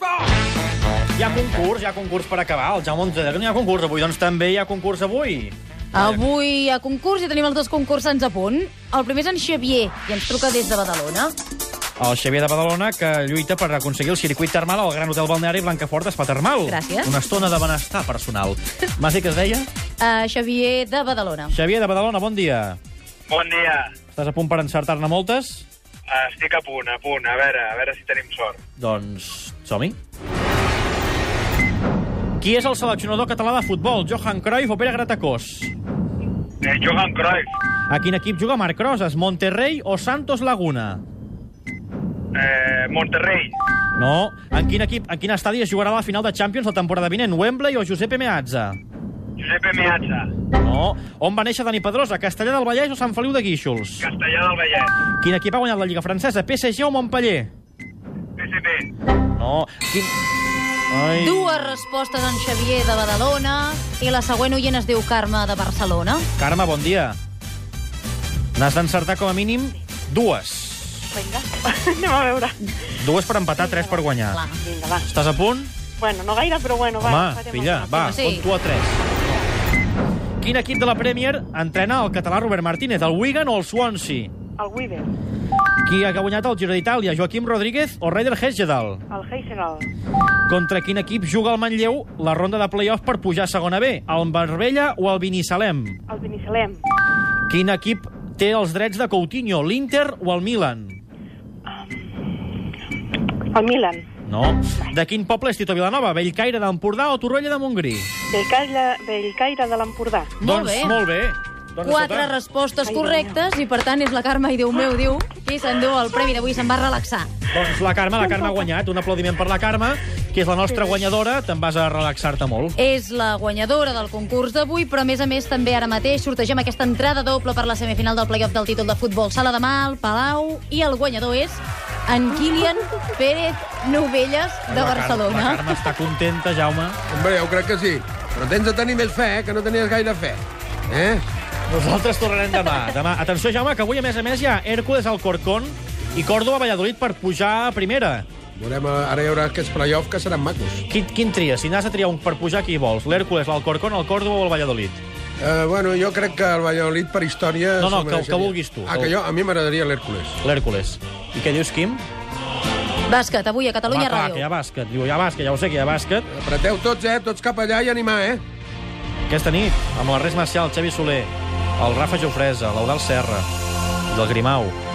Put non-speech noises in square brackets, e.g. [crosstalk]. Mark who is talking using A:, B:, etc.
A: Hi ha concurs, hi ha concurs per acabar. El Jaume ens deia que no hi ha concurs avui, doncs també hi ha concurs avui.
B: Avui a concurs i tenim els dos concursants a punt. El primer és en Xavier i ens truca des de Badalona.
A: El Xavier de Badalona, que lluita per aconseguir el circuit termal al Gran Hotel Balneari Blancafort Spa Termal.
B: Gràcies.
A: Una estona de benestar personal. M'has dit que es deia?
B: Uh, Xavier de Badalona.
A: Xavier de Badalona, bon dia.
C: Bon dia.
A: Estàs a punt per encertar-ne moltes?
C: Estic a punt, a punt. A veure, a veure si tenim sort.
A: Doncs som-hi. Qui és el seleccionador català de futbol? Johan Cruyff o Pere Gratacós?
C: Eh, Johan Cruyff.
A: A quin equip juga Marc Rosas? Monterrey o Santos Laguna?
C: Eh, Monterrey.
A: No. En quin equip, en quin estadi es jugarà la final de Champions la temporada vinent? Wembley o Giuseppe Meazza?
C: Josep Meazza.
A: No. On va néixer Dani Pedrosa? Castellà del Vallès o Sant Feliu de Guíxols?
C: Castellà del Vallès.
A: Quin equip ha guanyat la Lliga Francesa? PSG o Montpellier?
C: PSP.
A: No. Quin... Ai.
B: Dues respostes en Xavier de Badalona i la següent oient es diu Carme de Barcelona.
A: Carme, bon dia. N'has d'encertar com a mínim dues.
D: Vinga, [laughs] anem a veure.
A: Dues per empatar, tres per guanyar.
B: Clar.
D: Vinga, va.
A: Estàs a punt?
D: Bueno, no gaire, però bueno, va.
A: Home,
D: farem
A: filla,
D: alguna
A: va,
B: Sí.
A: compto a tres. Quin equip de la Premier entrena el català Robert Martínez, el Wigan o el Swansea?
D: cosa. El Weaver,
A: Qui ha guanyat el Giro d'Itàlia, Joaquim Rodríguez o Ryder Hesjedal?
D: el Heisenal,
A: Contra quin equip juga el Manlleu la ronda de play-off per pujar a segona B? El Marbella o el Binissalem?
D: el Benissalem,
A: Quin equip té els drets de Coutinho, l'Inter o el Milan?
D: el Milan,
A: No. De quin poble és Tito Vilanova? Bellcaire d'Empordà o Torrella de Montgrí?
D: Bellcaire, Bellcaire de l'Empordà.
B: Molt
A: doncs,
B: bé.
A: Molt bé. Doncs,
B: Quatre
A: escolta,
B: respostes correctes i, per tant, és la Carme i Déu meu, diu, qui s'endú el premi d'avui se'n va relaxar.
A: doncs la Carme, la Carme ha guanyat. Un aplaudiment per la Carme, que és la nostra guanyadora. Te'n vas a relaxar-te molt.
B: És la guanyadora del concurs d'avui, però a més a més també ara mateix sortegem aquesta entrada doble per la semifinal del playoff del títol de futbol Sala de Mal, Palau, i el guanyador és en Kilian Pérez Novelles de
A: La Car-
B: Barcelona.
A: La Carme està contenta, Jaume.
E: Hombre, jo crec que sí. Però tens de tenir més fe, eh, que no tenies gaire fe. Eh?
A: Nosaltres tornarem demà. demà. Atenció, Jaume, que avui, a més a més, hi ha Hércules al Corcón i Córdoba a Valladolid per pujar a primera.
E: Veurem, eh, ara hi haurà aquests play-off que seran macos.
A: Quin, quin tries? Si n'has de triar un per pujar, qui vols? L'Hércules, l'Alcorcón, el Córdoba o el Valladolid?
E: Eh, bueno, jo crec que el Valladolid per història...
A: No, no,
E: s'ho
A: que-
E: mereixeria.
A: que vulguis tu.
E: Ah, que jo, a mi m'agradaria l'Hércules.
A: L'Hércules. I què dius, Quim?
B: Bàsquet, avui a
A: Va,
B: Catalunya
A: clar, que hi
B: Ràdio.
A: ha bàsquet. Diu, hi ha bàsquet, ja ho sé, que hi ha bàsquet.
E: Apreteu tots, eh? Tots cap allà i animar, eh?
A: Aquesta nit, amb el Res Marcial, Xavi Soler, el Rafa Jofresa, l'Eudal Serra, i el Grimau,